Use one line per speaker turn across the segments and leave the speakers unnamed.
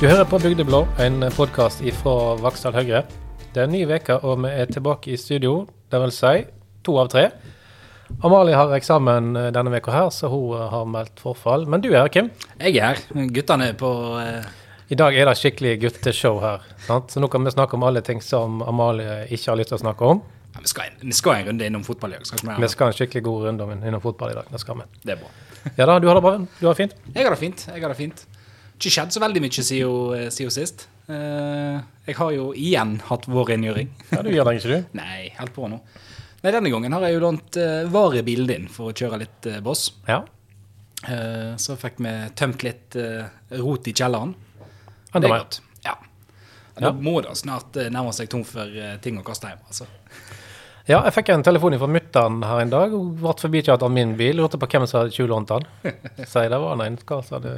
Du hører på Bygdeblå, en podkast ifra Vaksdal Høyre. Det er en ny uke, og vi er tilbake i studio. Det vil si to av tre. Amalie har eksamen eh, denne veka her, så hun eh, har meldt forfall. Men du er her, Kim.
Jeg er her. Guttene er på eh,
I dag er det skikkelig gutteshow her. Sant? Så nå kan vi snakke om alle ting som Amalie ikke har lyst til å snakke om.
ja, vi, skal, vi skal en runde innom fotball i dag. Skal ikke vi
Vi skal ha en skikkelig god runde om innom fotball i dag. Det skal vi.
det? Det er bra.
Ja da, du har det bra? Du har det fint?
Jeg har det fint. jeg har det fint. Ikke skjedd så veldig mye siden siden sist. Eh, jeg har jo igjen hatt vår rengjøring.
Ja, du gjør det ikke, du?
Nei, helt på nå. Nei, Denne gangen har jeg jo lånt uh, varebilen din for å kjøre litt eh, boss.
Ja.
Eh, så fikk vi tømt litt eh, rot i kjelleren.
Enda mer.
Ja. Da må det snart eh, nærme seg tom for eh, ting å kaste hjem. altså.
Ja, jeg fikk en telefon fra mutter'n her en dag. Hun ble forbikjørt av min bil. Lurte på hvem som hadde tjuvlånt den. Sier det var en eiendom som hadde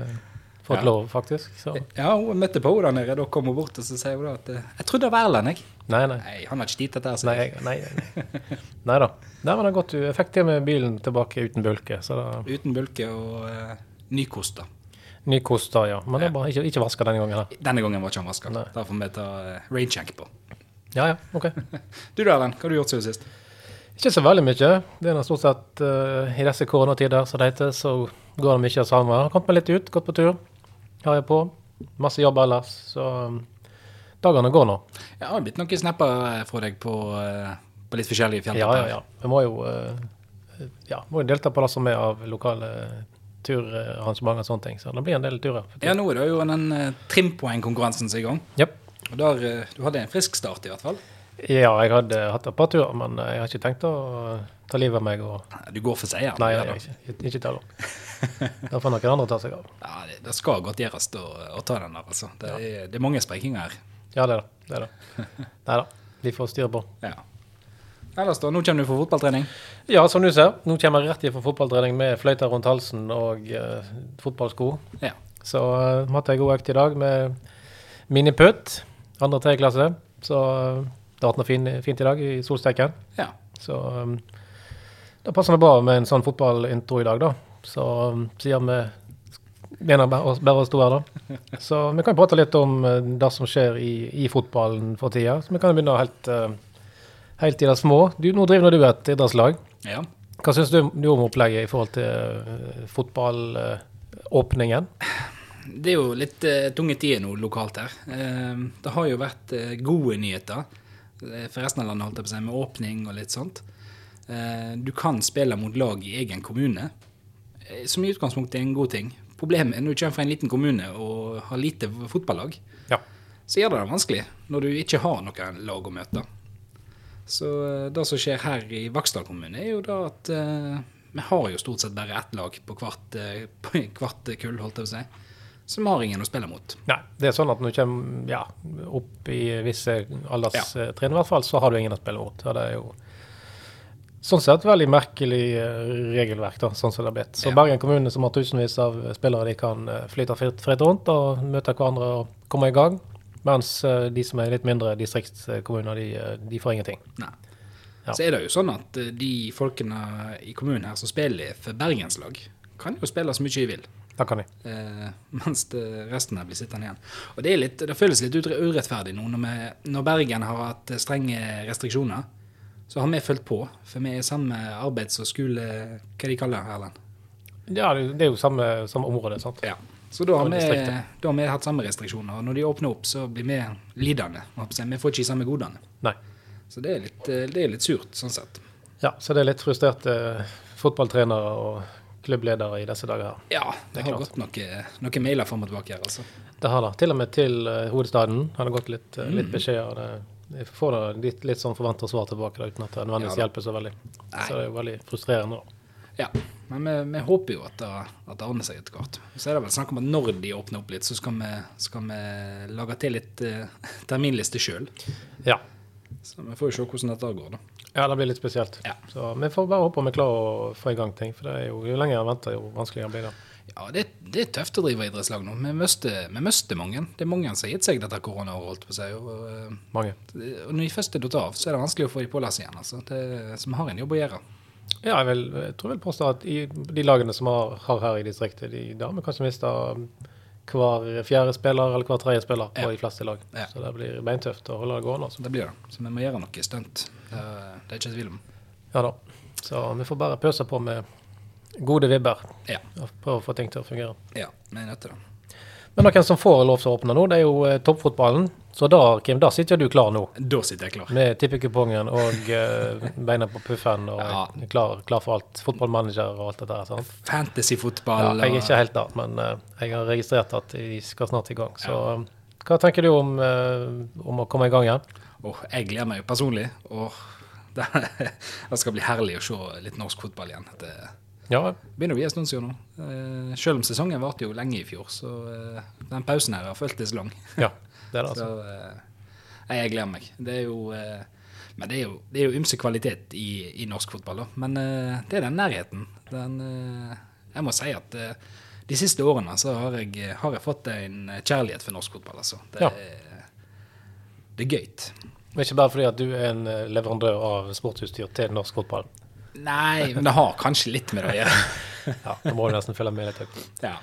fått
Ja.
lov, faktisk. Så
Ja, hun møtte på henne der nede. Da kom hun bort og så sier hun da at eh, 'Jeg trodde det var Erlend, jeg'.
nei, nei.
Nei, han har ikke tid til dette. her, sier
Nei, jeg- nei, nei. nei da. Nei, men det er godt du Jeg fikk til med bilen tilbake uten bulke. Så det
jeg. Uten bulke og eh, nykost, da.
ny koster, ja. Men det er bare ikke, ikke vaske denne gangen. her.
Denne gangen var ikke han vaska.
Nei.
Da får vi ta uh, raincheck på.
Ja, ja, ok.
Du da, Erlend. Hva har du gjort siden sist?
Ikke så veldig mye. Det er nå stort sett eh, i disse koronatider, som det heter, så går det mye av samme. Har kommet meg litt ut, gått på tur. Har jeg på. Masse jobb ellers. Så um, dagene går nå.
Ja, det har blitt noen snapper eh, fra deg på, eh, på litt forskjellige
Ja,
fjelltopper.
ja, ja. Vi må jo eh, ja, må jo delta på det som er av lokale turarrangementer og sånne ting. Så det blir en del turer. for tiden.
Ja, nå er det jo den eh, trimpoengkonkurransen som er i gang.
Japp.
Og der, eh, du hadde en frisk start, i hvert fall.
Ja, jeg hadde hatt et par turer, men jeg har ikke tenkt å ta livet av meg. Og...
Du går for seier.
Nei, jeg,
ja,
jeg, ikke, ikke ta det. Da får noen andre ta seg av.
ja, det, det skal godt gjøres å, å ta den der, altså. Det er, det er mange sprekinger her.
Ja, det er det. det, er det. Nei da. De får styre på.
Ja. Ellers da, nå kommer du for fotballtrening.
Ja, som du ser, nå kommer jeg rett ifra fotballtrening med fløyta rundt halsen og eh, fotballsko.
Ja.
Så eh, vi hadde en god økt i dag med miniputt, andre og tredje klasse. Så eh, det har vært noe fin, fint i dag i solsteken.
ja.
Så eh, det passer meg bra med en sånn fotballintro i dag, da. Så um, siden vi mener bare oss- bare oss to her, da. Så vi kan prate litt om eh, det som skjer i, i fotballen for tida. Så vi kan begynne helt, eh, helt i det små. Du, nå driver nå du et idrettslag.
ja.
Hva syns du, du om opplegget i forhold til eh, fotballåpningen?
Det er jo litt eh, tunge tider nå lokalt her. Eh, det har jo vært eh, gode nyheter eh, for resten av landet, holdt jeg på å si, med åpning og litt sånt. Eh, du kan spille mot lag i egen kommune, eh, som i utgangspunktet er en god ting. Problemet er når du kommer fra en liten kommune og har lite fotballag,
Ja.
så gjør det det vanskelig når du ikke har noe lag å møte. Så eh, det som skjer her i Vaksdal kommune, er jo da at eh, vi har jo stort sett bare ett lag på hvert, eh, på hvert kull, holdt jeg på å si. Så vi har ingen å spille mot.
Nei, det er sånn at når du kommer ja, opp i visse alderstrinn, i hvert fall, så har du ingen å spille mot. Og det er jo sånn sett veldig merkelig eh, regelverk, da, sånn som det har blitt. Så
Ja.
Bergen kommune, som har tusenvis av spillere, de kan eh, flyte fritt, fritt rundt og møte hverandre og komme i gang. Mens eh, de som er litt mindre distriktskommuner, de, eh, de får ingenting.
Nei.
Ja.
Så er det jo sånn at eh, de folkene i kommunen her som spiller for bergenslag, kan jo spille så mye de vil.
Da kan de.
Eh, mens det, resten her blir sittende igjen. Og det, er litt, det føles litt utre- urettferdig nå når, vi, når Bergen har hatt eh, strenge restriksjoner. Så har vi fulgt på, for vi er i samme arbeids- og skole... Hva de kaller det, Erlend?
Ja, det det er jo samme, samme område, sant.
Ja. Så da har,
Og
vi,
distriktet.
da har vi hatt samme restriksjoner. Og når de åpner opp, så blir vi lidende. holdt på å si. Vi får ikke de samme godene.
Nei.
Så det er litt, eh, det er litt surt, sånn sett.
Ja, så det er litt frustrerte eh, fotballtrenere og klubbledere i disse dager her.
Ja, det,
Det er
har
klart.
gått noe- noen mailer fram og tilbake her, altså.
Det har det. Til og med til eh, hovedstaden har det gått litt, uh,
Mm.
litt beskjeder. Det- Jeg får da litt, litt sånn forventa svar tilbake da, uten at det nødvendigvis
Ja
hjelper så veldig.
Nei.
Så det er jo veldig frustrerende. da.
Ja, men vi, vi håper jo at det, at det ordner seg etter hvert. Så er det vel snakk om at når de åpner opp litt, så skal vi, skal vi lage til litt eh, terminliste sjøl.
Ja.
Så vi får jo se hvordan dette går, da.
ja, det blir litt spesielt.
Ja.
Så vi får bare håpe om vi klarer å få i gang ting. For det er jo, jo lenger en venter, jo vanskeligere blir det.
Ja, det, det er tøft å drive idrettslag nå. Vi mister, vi mister mange. Det er mange som har gitt seg dette koronaåret, holdt på å si. Og, eh,
Mange.
og når de først er datt av, så er det vanskelig å få de på lasset igjen. Altså. Det, så vi har en jobb å gjøre.
Ja, jeg, vil, jeg tror jeg vil påstå at i de lagene som har, har her i distriktet, de, der har vi kanskje mista hver fjerde spiller eller hver tredje spiller på de
Ja.
fleste lag.
Ja.
Så det blir beintøft å holde det gående. Altså.
Det blir det. Så vi må gjøre noe stunt. Det er det er ikke tvil om.
Ja da. Så vi får bare pøse på med gode vibber
Ja.
og prøve å få ting til å fungere.
Ja, vi er nødt til det.
Men noen som får lov til å åpne nå, det er jo eh, toppfotballen. Så der, Kim, der sitter du klar nå.
Da sitter jeg klar.
Med tippekupongen og eh, beina på puffen og
Ja.
klar, klar for alt. Fotballmanager og alt det der. sant? Ja, jeg
Fantasyfotball
er
og
ikke helt der, men eh, jeg har registrert at de skal snart i gang. Så eh, hva tenker du om, eh, om å komme i gang igjen?
Åh, Jeg gleder meg jo personlig. Åh, det, det skal bli herlig å se litt norsk fotball igjen. Det
Ja,
begynner å bli en stund siden nå. Eh, Selv om sesongen varte jo lenge i fjor, så eh, den pausen her har føltes lang.
ja det er det, altså.
Så eh, nei, jeg gleder meg. Det er jo eh, Men det er jo, det er jo ymse kvalitet i, i norsk fotball, da. Men eh, det er den nærheten. Den eh, Jeg må si at eh, de siste årene så har jeg, har jeg fått en kjærlighet for norsk fotball, altså. Det,
Ja.
er, det er gøyt.
Men ikke bare fordi at du er en eh, leverandør av sportsutstyr til norsk fotball.
Nei, men det har kanskje litt med det å gjøre.
Ja, Da må du nesten følge med litt. Høyt.
Ja.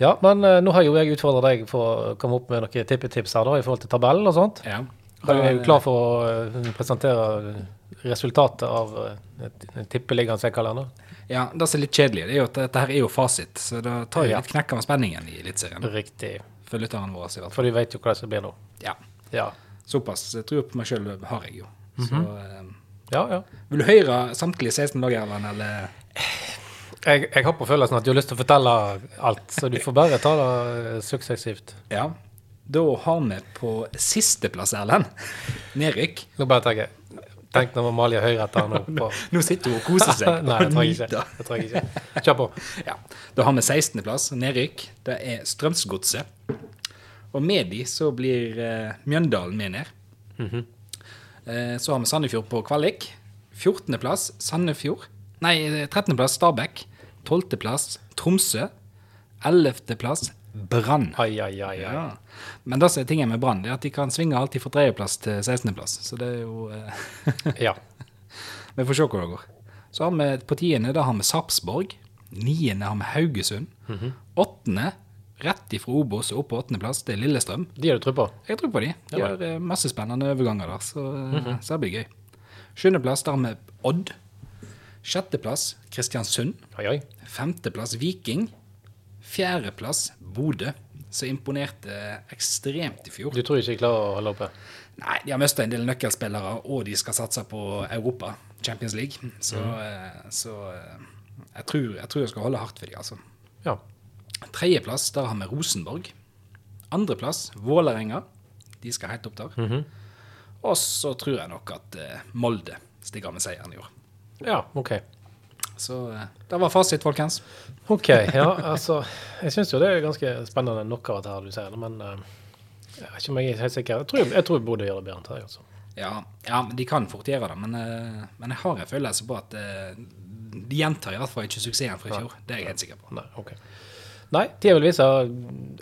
Ja, men eh, nå har jo jeg utfordra deg for å komme opp med noen tippetips her da, i forhold til tabellen og sånt.
ja.
Da er jeg jo klar for å eh, presentere eh, resultatet av eh, et- tippeligaen, som jeg kaller den. da.
Ja, Det som er litt kjedelig, det er jo at dette her er jo fasit, så det tar jo
Ja.
litt knekken av spenningen i Eliteserien.
Riktig.
For lytterne våre, i hvert fall.
For du vet jo hva det skal bli nå.
Ja.
Ja,
Såpass tro på meg sjøl har jeg jo. Så eh,
ja. ja.
Vil du høre samtlige 16 lag, Erlend, eller
Jeg, jeg har på følelsen at du har lyst til å fortelle alt, så du får bare ta det eh, suksessivt.
Ja. Da har vi på sisteplass, Erlend, nedrykk.
Nå bare tenker jeg Tenk når Amalie Høyreth her nå på
Nå sitter hun og koser seg.
Nei, det trenger jeg ikke.
og nyter.
Det trenger jeg ikke. Kjør på.
Ja. Da har vi 16.-plass, nedrykk. Det er Strømsgodset. Og med de så blir eh, Mjøndalen med ned. eh, så har vi Sandefjord på kvalik. 14.-plass Sandefjord. Nei, eh, 13.-plass Stabæk. 12.-plass Tromsø. 11.-plass Brann.
Ai, ai, ai. ai.
Ja. Men det som er tingen med Brann, det er at de kan svinge alltid fra tredjeplass til 16.-plass. Så det er jo eh,
Ja.
vi får se hvor det går. Så har vi på tiende, da har vi Sarpsborg. Niende har vi Haugesund. Åttende, rett ifra Obos og opp på åttendeplass, det er Lillestrøm.
De har du tro på?
Jeg tror på de. De
Ja.
har eh, masse spennende overganger der, så, eh, så det blir gøy. Sjuendeplass, der har vi Odd. Sjetteplass, Kristiansund.
Ai, ai.
Femteplass, Viking. Fjerdeplass, Bodø. Som imponerte ekstremt i fjor.
Du tror ikke jeg klarer å holde oppe?
Nei, de har mista en del nøkkelspillere, og de skal satse på Europa, Champions League. Så, eh, så eh, jeg, tror, jeg tror jeg skal holde hardt for de, altså.
Ja.
Tredjeplass, der har vi Rosenborg. Andreplass, Vålerenga. De skal helt opp der. Og så tror jeg nok at eh, Molde stiger av med seieren i år.
Ja, OK.
Så eh, det var fasit, folkens.
OK. Ja, altså Jeg syns jo det er ganske spennende nok av dette her du sier, men eh, jeg vet ikke om jeg er helt sikker. Jeg tror, jeg tror Bodø gjør det bedre enn Terje, altså.
Ja, ja, men de kan fort gjøre det, men, eh, men jeg har en følelse på at eh, de gjentar i hvert fall ikke suksessen fra i fjor. Det er jeg helt sikker på.
Nei, ok. Nei, tida vil vise.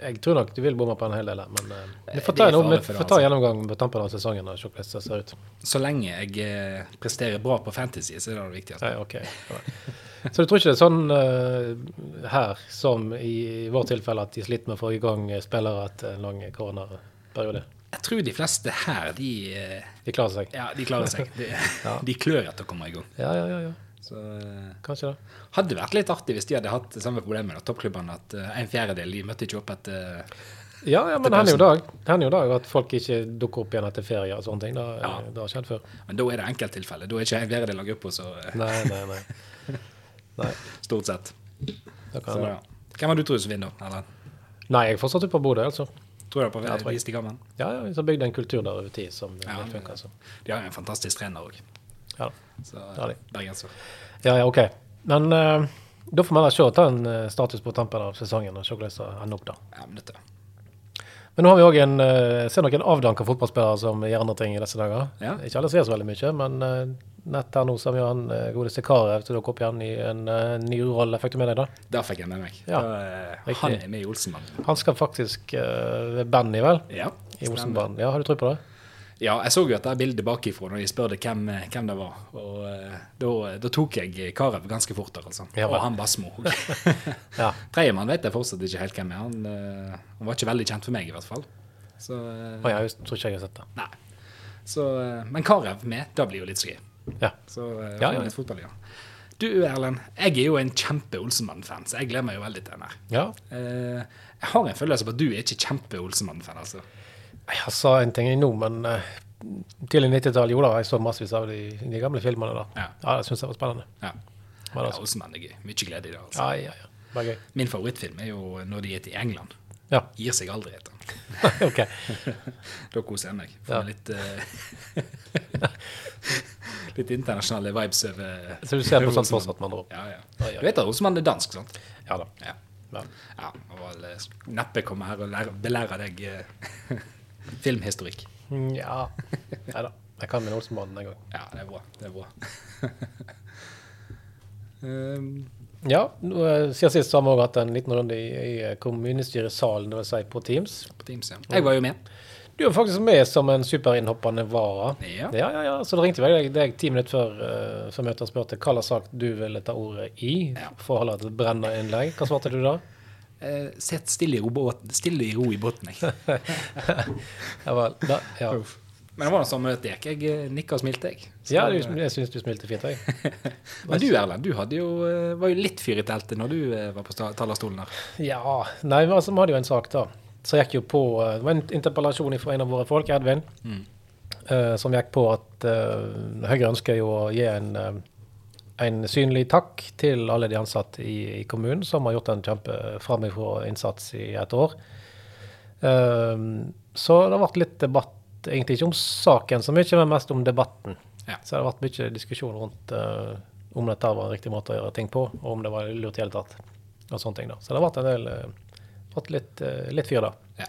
Jeg tror nok du vil bomme på en hel del, her, men eh, vi får ta,
Det er
en,
farlig
vi
for det,
får ta
altså.
gjennomgang på tampen av sesongen og se hvordan det ser ut.
Så lenge jeg eh, presterer bra på fantasy, så er det det viktigste.
Nei, ok. Nei. Så du tror ikke det er sånn eh, her som i vårt tilfelle at de sliter med å få i gang spillere etter en lang koronaperiode?
Jeg tror de fleste her, de, eh,
De klarer seg?
ja, de klarer seg. De, de klør etter å komme i gang.
Ja, ja, ja. ja.
Så eh,
Kanskje det.
hadde det vært litt artig hvis de hadde hatt det samme problemet med toppklubbene, at eh, en fjerdedel de møtte ikke opp eh, etter
Ja, ja, men det hender jo i dag. Det hender jo i dag at folk ikke dukker opp igjen etter ferie og sånne ting. Det,
Ja.
det har skjedd før.
Men da er det enkelttilfelle. Da er ikke en fjerdedel av gruppa, så eh,
Nei, nei, nei. Nei,
stort sett.
det
Så,
kan
ja. Hvem har du trodd som vinner? Eller?
Nei, jeg fortsatt ut på Bodø, altså.
Tror du på
Ja, tror jeg.
de stiger med?
Ja, ja, vi har bygd en kultur der over tid som
Ja,
ja,
men-
funker. Altså.
De har jo en fantastisk trener òg.
Ja, da. Ja, de.
Bergenser.
ja, ja, OK. Men eh, da får vi heller se ta en eh, status på tampen av sesongen og se hvordan det ender opp, da.
Ja, men dette.
Men nå har vi òg en eh, ser noen avdanka fotballspillere som gjør andre ting i disse dager.
Ja.
Ikke alle ser så veldig mye, men eh, nett her nå så har vi jo han eh, godeste Karev som dukket opp igjen i en eh, ny rolle. Fikk du med deg det?
Der fikk jeg med meg.
Ja,
Da, eh,
riktig.
han er med i Olsenmannen.
Han skal faktisk eh, være bandy, vel?
Ja.
I
stemmer.
Olsenbanen. Ja, har du tro på det?
Ja, jeg så jo at det er bildet bakifra når de spurte hvem, hvem det var. Og eh, da, da tok jeg Karev ganske fort der, altså.
Ja, vel.
og han Basmo.
Ja.
Tredjemann vet jeg fortsatt ikke helt hvem er. Han, eh, han var ikke veldig kjent for meg, i hvert fall. Så, eh,
Å, ja, jeg tror ikke jeg har sett det.
nei. Så, eh, men Karev med, det blir jo litt så gøy.
Ja.
Så eh,
Ja, ja.
litt fotball, ja. Du Erlend, jeg er jo en kjempe Olsenmann-fan, så jeg gleder meg jo veldig til den her.
ja.
Eh, jeg har en følelse på at du er ikke kjempe Olsenmann-fan, altså.
Jeg sa en ting nå, men eh, tidlig 90-tall, jo da, jeg så massevis av de, de gamle filmene da.
Ja.
Ja, det syns jeg var spennende.
Ja.
Var det
Ja, Olsenmann er gøy. Mye glede i det. altså.
Ja, ja, ja. Bare gøy.
Min favorittfilm er jo når de er til England.
Ja,
Gir seg aldri, heter den.
ok.
Da koser jeg meg. Får
Ja.
litt eh, Litt internasjonale vibes over
Så du ser på sånn sånt
Olsenmann.
fortsatt, med andre ord.
Ja, ja.
Ja, ja.
Du vet at Olsenmann er dansk, sant?
Ja da.
Ja.
Ja.
ja og vel, eh, neppe komme her og lære, belære deg eh, filmhistorikk.
Nja Nei da. Jeg kan min Olsenbanden en gang.
Ja, det er bra. Det er bra. um,
Ja, nå, eh, siden sist har vi òg hatt en liten runde i, i eh, kommunestyresalen, dvs. Si på Teams.
på Teams, ja. Jeg var jo med.
Du var faktisk med som en superinnhoppende vara.
Ja.
ja, ja, ja. Så da ringte vi deg, deg ti minutter før, eh, før møtet og spurte hva slags sak du ville ta ordet i
Ja.
for å holde et brennerinnlegg. Hva svarte du da?
Eh, Sett stille i ro, båten- stille i ro i båten, jeg.
Ja, vel, da, ja.
Uff. Men det var noe sånn møte jeg. Jeg nikka og smilte, jeg. Så-
ja du, jeg syns du smilte fint, jeg.
Men du Erlend, du hadde jo, eh, var jo litt fyr i teltet når du eh, var på sta- talerstolen her.
Ja, nei, men altså, vi hadde jo en sak da. Så gikk jo på, eh, det var en interpellasjon fra en av våre folk, Edvin, eh, som gikk på at eh, Høyre ønsker jo å gi en, eh, en synlig takk til alle de ansatte i, i kommunen som har gjort en kjempeframifrå innsats i et år. Eh, så det har vært litt debatt, egentlig ikke om saken så mye, men mest om debatten.
Ja.
Så det har vært mye diskusjon rundt eh, om dette var en riktig måte å gjøre ting på, og om det var lurt i hele tatt. Og sånne ting da. Så det har vært en del eh, fått litt, eh, litt fyr da.
Ja,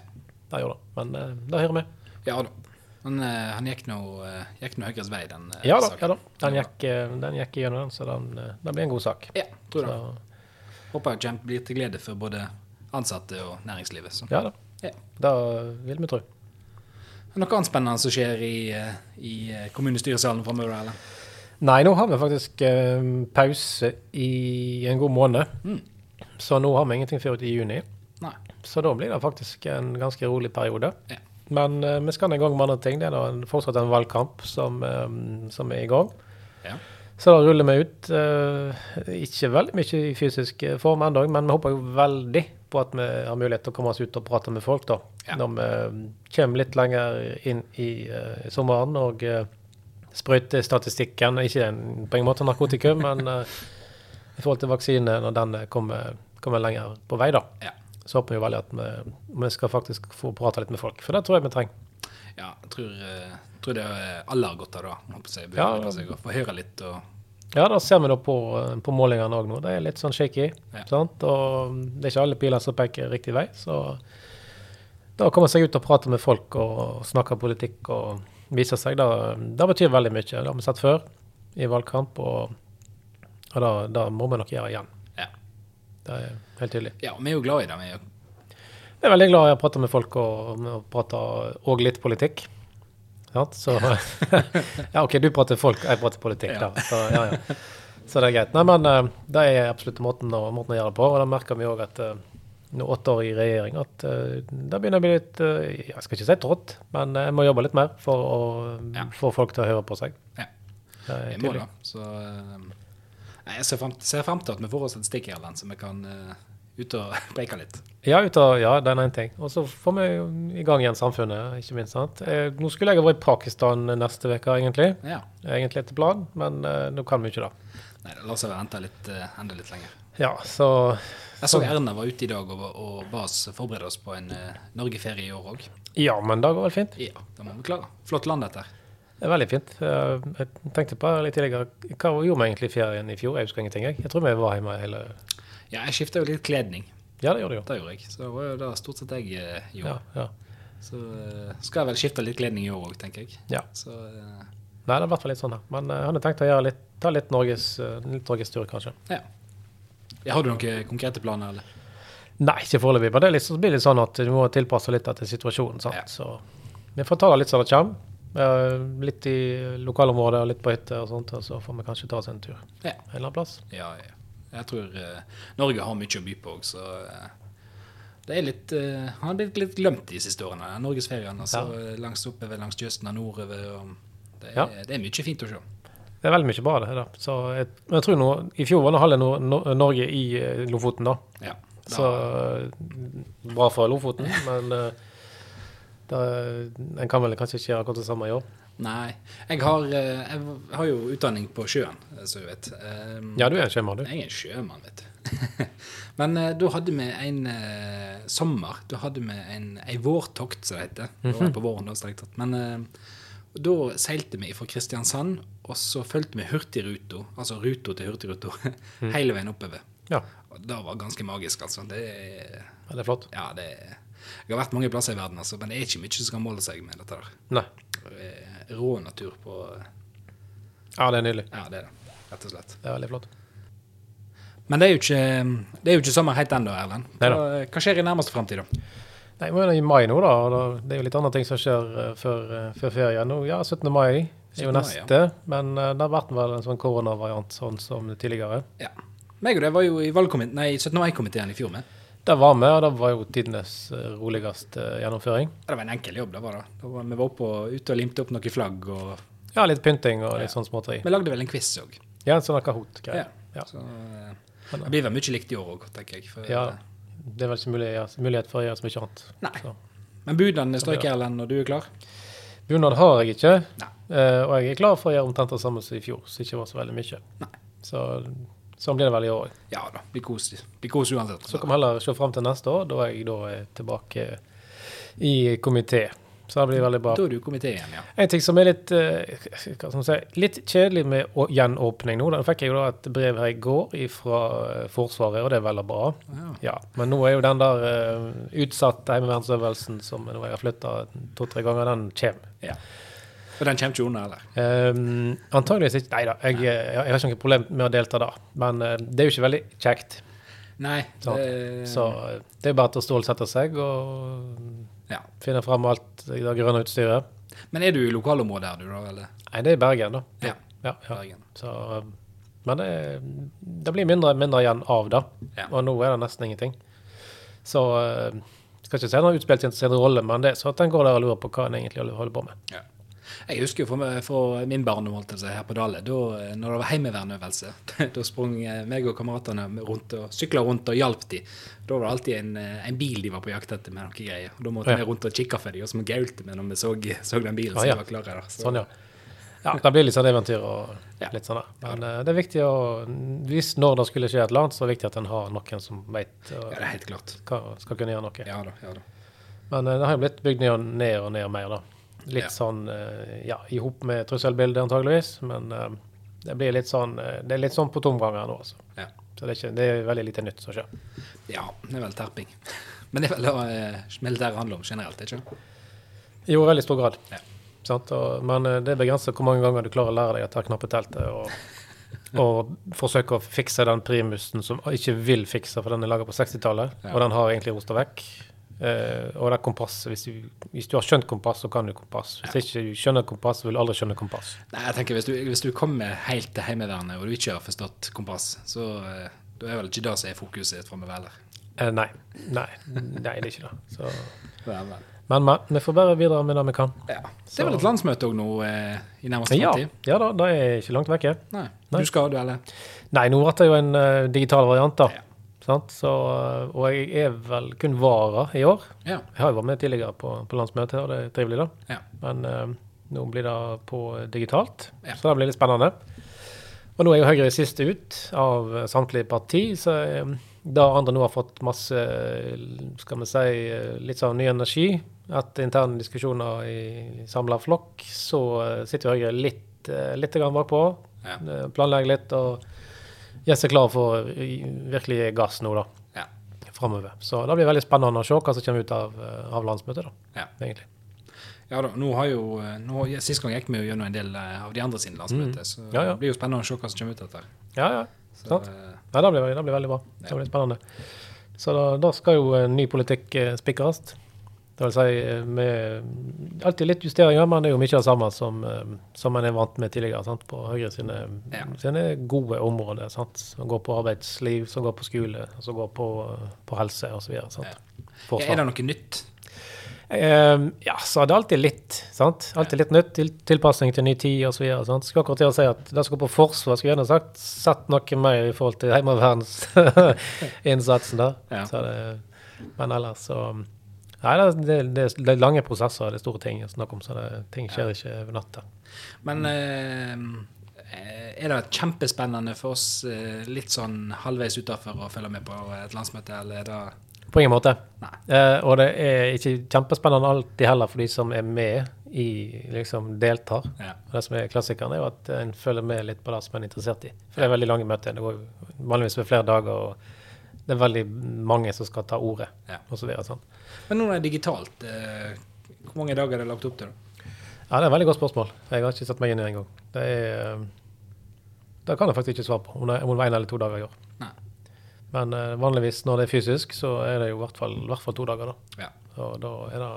Det gjorde det. Men eh, det hører med.
ja da. Han, eh, han gikk nå eh, gikk nå Høyres vei, den eh,
Ja da.
saken.
ja da. Den gikk, eh, den gikk igjennom, den, så den, eh, den blir en god sak.
Ja, tror det.
Så,
Håper jeg Jump blir til glede for både ansatte og næringslivet. Så.
ja da.
Ja.
Det vil vi tro.
Er det Noe annet spennende som skjer i, eh, i eh, kommunestyresalen framover, Erlend?
Nei, nå har vi faktisk eh, pause i en god måned.
Mm.
Så nå har vi ingenting før ut i juni.
Nei.
Så da blir det faktisk en ganske rolig periode.
Ja.
Men eh, vi skal en gang med andre ting. Det er da en, fortsatt en valgkamp som, eh, som er i gang.
Ja.
Så da ruller vi ut. eh, ikke veldig mye i fysisk eh, form ennå, men vi håper jo veldig på at vi har mulighet til å komme oss ut og prate med folk da.
Ja.
Når vi eh, kommer litt lenger inn i eh, sommeren og eh, sprøytestatistikken Ikke en, på en måte narkotikum, men eh, i forhold til vaksine, når den eh, kommer, kommer lenger på vei, da.
Ja.
Så håper vi veldig at vi, vi skal faktisk få prate litt med folk, for det tror jeg vi trenger.
ja jeg tror, eh, tror det eh, alle har godt av det. da. Håper jeg,
Ja.
håper jeg, å Få høre litt og
Ja, da ser vi da på, eh, på målingene òg nå. Det er litt sånn shaky.
Ja.
Sant? Og det er ikke alle piler som peker riktig vei, så da å komme seg ut og prate med folk og snakke politikk og vise seg, da, det betyr veldig mye. Det har vi sett før i valgkamp, og, og da, da må vi nok gjøre igjen.
Ja.
Det er helt tydelig.
ja, vi er jo glad i det. Vi er jo
Jeg er veldig glad i å prate med folk og, og prate og litt politikk. Sant? Så Ja, OK, du prater folk, jeg prater politikk,
Ja.
da. Så, ja, ja. så det er greit. Nei, men eh, det er absolutt måten å, måten å gjøre det på. Og da merker vi òg at eh, nå åtte år i regjering, at eh, det begynner å bli litt eh, Jeg skal ikke si trått, men eh, jeg må jobbe litt mer for å
Ja.
få folk til å høre på seg.
Ja.
Det er
Jeg må
tydelig.
da. Så eh, nei, jeg ser frem, ser frem til at vi får oss et stikk i Erlend, så vi kan eh, ut og preike litt.
Ja, ut av, ja, det er én ting. Og så får vi jo i gang igjen samfunnet, ikke minst. sant? Eh, Nå skulle jeg ha vært i Pakistan neste uke, egentlig.
Ja.
egentlig etter planen, men eh, nå kan vi ikke det.
Nei, det lar seg vente litt, eh, enda litt lenger.
Ja, så
Jeg så Erna var ute i dag og, og ba oss forberede oss på en eh, Norgeferie i år òg.
Ja, men det går vel fint.
Ja, det må vi klare. Flott land, dette. her.
Det er veldig fint. Eh, Jeg tenkte på litt tidligere Hva gjorde vi egentlig i ferien i fjor? Jeg husker ingenting, jeg. Jeg tror vi var hjemme hele
Ja, jeg skifta jo litt kledning.
Ja, det gjorde vi jo.
Det gjorde jeg. Så det var jo det stort sett jeg eh,
Ja,
gjorde.
ja.
Så eh, skal jeg vel skifte litt kledning i år òg, tenker jeg.
ja.
Så eh,
Nei, det er i hvert fall litt sånn her. Men eh, jeg hadde tenkt å gjøre litt, ta litt Norges, eh, litt Norges tur, kanskje.
ja. ja. Har du noen konkrete planer, eller?
Nei, ikke foreløpig. Men det er litt, så blir det litt sånn at du må tilpasse litt etter situasjonen. sant?
Ja.
Så vi får ta det litt som det kommer. Eh, Litt i lokalområdet og litt på hytte og sånt, og så får vi kanskje ta oss en tur en
Ja.
eller annen plass.
Ja, ja. Jeg tror eh, Norge har mye å by på òg, så eh, det er litt eh, Han har blitt litt glemt de siste årene. den Norgesferien altså, eh, langs oppover langs kysten og nordover. Og det, er,
Ja.
det er mye fint å se.
Det er veldig mye bra, det her. da. Så jeg, men jeg tror nå, I fjor var nå halve Nor- Nor- Norge i eh, Lofoten, da.
Ja. Da,
Så eh, bra for Lofoten, men eh, da, en kan vel kanskje ikke gjøre akkurat det samme i år.
Nei. Jeg har, eh, jeg har jo utdanning på sjøen, eh, som du vet. Eh,
Ja, du er en sjømann, du.
Jeg er en sjømann, vet du. Men eh, da hadde vi en eh, sommer. Da hadde vi en, ei vårtokt, som det heter. Det var på våren, da, strengt tatt. Men eh, da seilte vi fra Kristiansand, og så fulgte vi Hurtigruta, altså ruta til Hurtigruta, hele veien oppover.
Ja,
Og det var ganske magisk, altså. Det er
ja, det er flott.
Ja, det er Jeg har vært mange plasser i verden, altså, men det er ikke mye som kan måle seg med dette der.
Nei.
Det er Rå natur på
Ja, det er nydelig.
Ja, det er det, rett og slett.
Det er veldig flott.
Men det er jo ikke, det er jo ikke sommer helt ennå, Erlend. Hva, hva skjer i nærmeste framtid, da?
Nei, men I mai nå, da. og da- Det er jo litt andre ting som skjer eh, før, eh, før ferien. Nå, ja, 17. mai er
17.
jo
mai,
neste, men eh, der ble det vel en sånn koronavariant sånn som tidligere.
Ja. Meg og deg var jo i valgkomiteen, nei, 17. mai-komiteen i fjor med.
Der var vi, og det var jo tidenes eh, roligste eh, gjennomføring.
Ja, Det var en enkel jobb, det var det. Da var, vi var oppe og, ute og limte opp noen flagg, og
Ja, litt pynting og litt sånn småtteri.
vi lagde vel en quiz òg.
Ja, en sånn Kahoot-greie.
Ja.
Ja.
Så eh, det blir vel mye likt i år òg, tenker jeg. For, eh,
Ja, det er vel ikke mulig, ja, mulighet for å gjøre så mye annet.
Nei.
Så.
Men budene strøk, Erlend, og du er klar?
Bunad har jeg ikke,
Nei.
eh, og jeg er klar for å gjøre omtrent det samme som i fjor, så ikke var så veldig mye.
Nei.
Så sånn blir det vel i år òg.
Ja da, blir kos, blir kos uansett.
Så kan vi heller se fram til neste år, da jeg da er tilbake i komité. Så det blir veldig bra.
Da er du i komité igjen, ja.
En ting som er litt, eh, hva skal man si, litt kjedelig med å- gjenåpning nå, da fikk jeg jo da et brev her i går fra eh, Forsvaret, og det er veldig bra.
Ja.
Ja, Men nå er jo den der eh, utsatte heimevernsøvelsen som nå jeg har flytta to-tre ganger, den kommer.
ja. Og den kommer ikke unna, eller?
Um, antageligvis ikke. Nei da, jeg, eh, jeg har ikke noe problem med å delta da. Men eh, det er jo ikke veldig kjekt.
Nei.
Sant.
det-
Så eh, det er bare til å stålsette seg og
ja.
finne fram alt det grønne utstyret.
Men er du i lokalområdet her, du, da? Eller?
Nei, det er Bergen, da.
Ja.
Ja, ja.
Bergen.
Så, um, men det, det blir mindre og mindre igjen av det.
Ja.
Og nå er det nesten ingenting. Så uh, skal ikke si den har utspilt sin- sin rolle, men det, er så at en går der og lurer på hva en egentlig holder på med.
Ja. Jeg husker jo fra, fra min barndom holdt jeg på å si, her på Dale, da eh, når det var heimevernøvelse, da sprang eh, meg og kameratene rundt og sykla rundt og hjalp de. Da var det alltid en, eh, en bil de var på jakt etter med noe greier. Og da måtte
Ja.
vi rundt og kikke for de, og så gaulte vi når vi så, så den bilen
Ah,
som
ja.
var klar der. Så,
Sånn, ja. Ja, Det blir litt sånn eventyr og
Ja.
litt sånn. da. Men eh, det er viktig å Hvis når det skulle skje et eller annet, så er det viktig at en har noen som veit
ja, det er helt klart.
hva skal kunne gjøre noe.
Ja da, ja da.
Men eh, det har jo blitt bygd ned og ned og ned mer, da. Litt
Ja.
sånn eh, ja, i hop med trusselbildet, antageligvis. Men eh, det blir litt sånn eh, Det er litt sånn på tomgang her nå, altså.
Ja.
Så det er, ikke, det er veldig lite nytt som skjer.
ja, det er vel terping. Men det er vel det eh, militæret handler om generelt, ikke sant?
Jo, i veldig stor grad.
Ja.
Sant? Og, men eh, det er begrenset hvor mange ganger du klarer å lære deg dette knappeteltet. Og, og forsøke å fikse den primusen som ikke vil fikse, for den er laga på 60-tallet.
Ja.
Og den har egentlig rosta vekk. Eh, og det er kompasset. Hvis, du- hvis du har skjønt kompass, så kan du kompass. Hvis ikke du skjønner kompass, vil du aldri skjønne kompass.
Nei, jeg tenker hvis du, hvis du kommer helt til Heimevernet og du ikke har forstått kompass, så eh, da er vel ikke det som er fokuset framover heller.
Eh, nei. nei. Nei, det er ikke det. Så.
Vel, vel.
Men, men vi får bare videre med det vi kan.
Ja. Det er vel et landsmøte òg nå eh, i nærmeste
Ja,
framtid?
ja da, det er ikke langt vekke.
Nei.
Nei.
Du skal, du, eller?
Nei, nå ble det jo en eh, digital variant, da.
Ja.
Sant? Så, eh, og jeg er vel kun vara i år.
Ja.
Jeg har jo vært med tidligere på, på landsmøtet, og det er trivelig, da.
ja.
Men eh, nå blir det på digitalt,
Ja.
så det blir litt spennende. Og nå er jo Høyre sist ut av eh, samtlige parti, så eh, da andre nå har fått masse eh, skal vi si, eh, litt sånn ny energi etter interne diskusjoner i samla flokk, så eh, sitter jo Høyre litt, eh, litt grann bakpå.
Ja.
eh, Planlegger litt og gjør seg klar for eh, virkelig å gi gass nå, da.
Ja.
Framover. Så det blir veldig spennende å se hva som kommer ut av, eh, av landsmøtet, da.
Ja.
Egentlig.
ja da. Nå har jo, eh, nå, ja, sist gang gikk vi jo gjennom en del eh, av de andre sine landsmøter, så
Mm. Ja, ja.
det blir jo spennende å se hva som kommer ut av dette.
Ja, ja.
Så,
Sant.
eh,
Nei, det blir, det blir veldig bra. Det blir spennende. Så da, da skal jo eh, ny politikk eh, spikres. Det vil si eh, med alltid litt justeringer, men det er jo mye av det samme som, eh, som en er vant med tidligere. Sant? På Høyre sine,
Ja.
sine gode områder. Sant? Som går på arbeidsliv, som går på skole, som går på, eh, på helse osv.
Ja, er det noe nytt?
Ehm, ja, så er det alltid litt. sant? Alltid litt nytt. Til, tilpasning til ny tid osv. Skulle akkurat til å si at det som går på forsvar, skulle jeg gjerne sagt satt noe mer i forhold til heimevernsinnsatsen der.
Ja.
Så det, men ellers så Nei, det, det, det, er- det er lange prosesser, det er store ting å snakke om, så det, ting skjer ikke over natta.
Men
Mm.
eh, er det kjempespennende for oss eh, litt sånn halvveis utafor å følge med på et landsmøte, eller er det
På ingen måte.
Nei.
Eh, og det er ikke kjempespennende alltid heller for de som er med i liksom deltar.
Ja.
Og det som er klassikeren, er jo at en følger med litt på det som en er interessert i. For det er veldig lange møter. Det går jo vanligvis ved flere dager, og det er veldig mange som skal ta ordet.
Ja.
Og så videre, sånn.
Men nå er det digitalt. eh, Hvor mange dager er det lagt opp til? da?
Ja, det er et veldig godt spørsmål. Jeg har ikke satt meg inn i det engang. Det er eh, Det kan jeg faktisk ikke svare på, om det om det var én eller to dager i år.
Nei.
Men eh, vanligvis når det er fysisk, så er det jo i hvert fall, i hvert fall to dager, da.
Ja.
Og da er det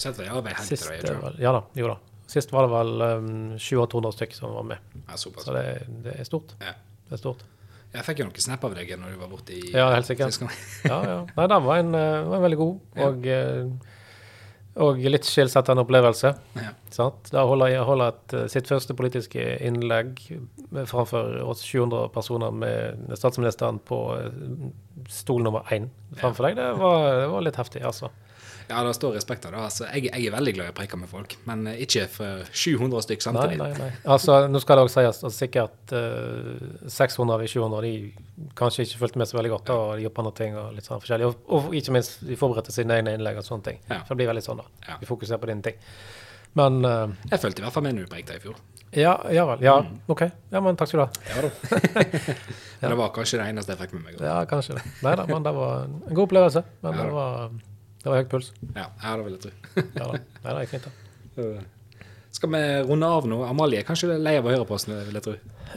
Setter vi av ei helg
Sist,
til
eh,
det? gjør vi
vel- ja da, jo da. Sist var det vel um, 700-800 stykk som var med.
ikke? Ja, såpass.
Så det, det er stort.
Ja.
Det er stort.
Jeg fikk jo noen snap av deg når du var borte i
Ja, helt sikkert.
Sist gang.
Ja, ja. Nei, den var en, eh, var en veldig god og, eh, og litt skilsettende opplevelse.
Ja.
Sant? Da holder jeg holder et, eh, sitt første politiske innlegg med- framfor oss 700 personer med statsministeren på eh, stol nummer én framfor deg. Det var, det var litt heftig, altså.
Ja, det står respekt av det. Altså, jeg, jeg er veldig glad i å preke med folk, men eh, ikke for 700 stykk
Nei,
samtidig.
nei, nei. Altså, nå skal det også sies at sikkert eh, 600 av de 700 de kanskje ikke fulgte med så veldig godt. da, og de gjorde andre ting og litt sånn forskjellig. Og, og ikke minst de forberedte sine egne innlegg og sånne ting.
Ja.
For det blir veldig sånn, da.
Ja.
Vi fokuserer på dine ting. Men eh,
Jeg følte i hvert fall med når du prekte i fjor.
ja, ja vel. Ja,
Mm.
OK. Ja, men takk skal du ha.
Ja da. Men det var kanskje det eneste jeg fikk med meg. da.
Ja, kanskje det. Nei da, men det var en god opplevelse. Men
Ja.
det var, det var høy puls.
Ja, ja det vil jeg tro.
Ja da. Nei, det gikk fint, da.
Skal vi runde av nå? Amalie er kanskje lei av å høre på oss, vil jeg tro.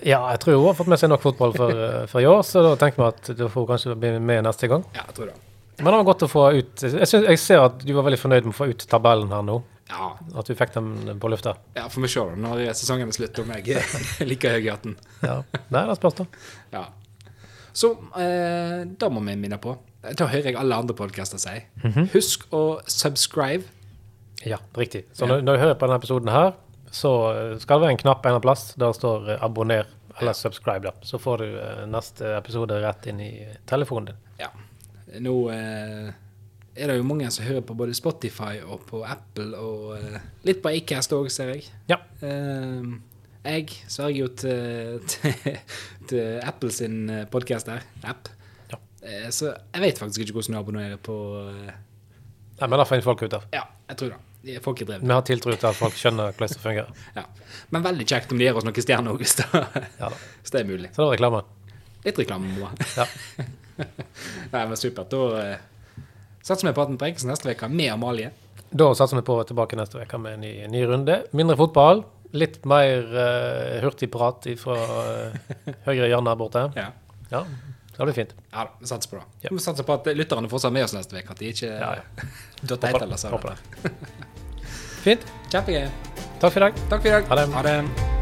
Ja, jeg tror hun har fått med seg nok fotball for, eh, for i år, så da tenker vi at du får hun kanskje bli med neste gang.
Ja, jeg tror det.
Men det var godt å få ut jeg, synes, jeg ser at du var veldig fornøyd med å få ut tabellen her nå.
Ja,
At du fikk den på lufta.
ja får vi se da, når sesongen er slutt, om jeg er like høy i hatten.
Ja. Nei, det spørs, da.
Ja. Så eh, da må vi minne på Da hører jeg alle andre podkaster si.
Mhm.
Husk å subscribe.
Ja, riktig. Så når, når du hører på denne episoden her, så eh, skal det være en knapp en eller annen plass. Der står eh, 'abonner' eller 'subscribe', da. Så får du eh, neste episode rett inn i telefonen din.
Ja. Nå eh, er det jo mange som hører på både Spotify og på Apple, og eh, litt på Acast òg, ser jeg.
Ja.
Eh, jeg sverger jo til, til, til Apple sin podkast der, app.
Ja.
Eh, så jeg vet faktisk ikke hvordan du abonnerer på eh,
Nei, men det finner folk ut av.
Ja, jeg tror det. De- Folk er drevne.
Vi har tiltro til at folk skjønner hvordan det fungerer.
Ja. Men veldig kjekt om de gir oss noen stjerner òg, hvis, det-
Ja da.
hvis det er mulig.
Så det var reklame.
Litt reklame må ha.
Ja.
Nei, men supert. Da eh, satser vi på Atten Brekkelsen neste uke med Amalie.
Da satser vi på å være tilbake neste uke med en ny, ny runde. Mindre fotball. Litt mer eh, hurtig prat fra høyre hjørne her borte.
Ja.
Ja, det blir fint.
Ja da, vi satser på det.
Ja.
Vi satser på at lytterne fortsatt er med oss neste uke. At de ikke
Ja, ja.
døtter helt eller så.
Håper det. Fint.
Kjempegøy.
Takk for i dag.
Takk for i dag.
Ha det.
Ha det.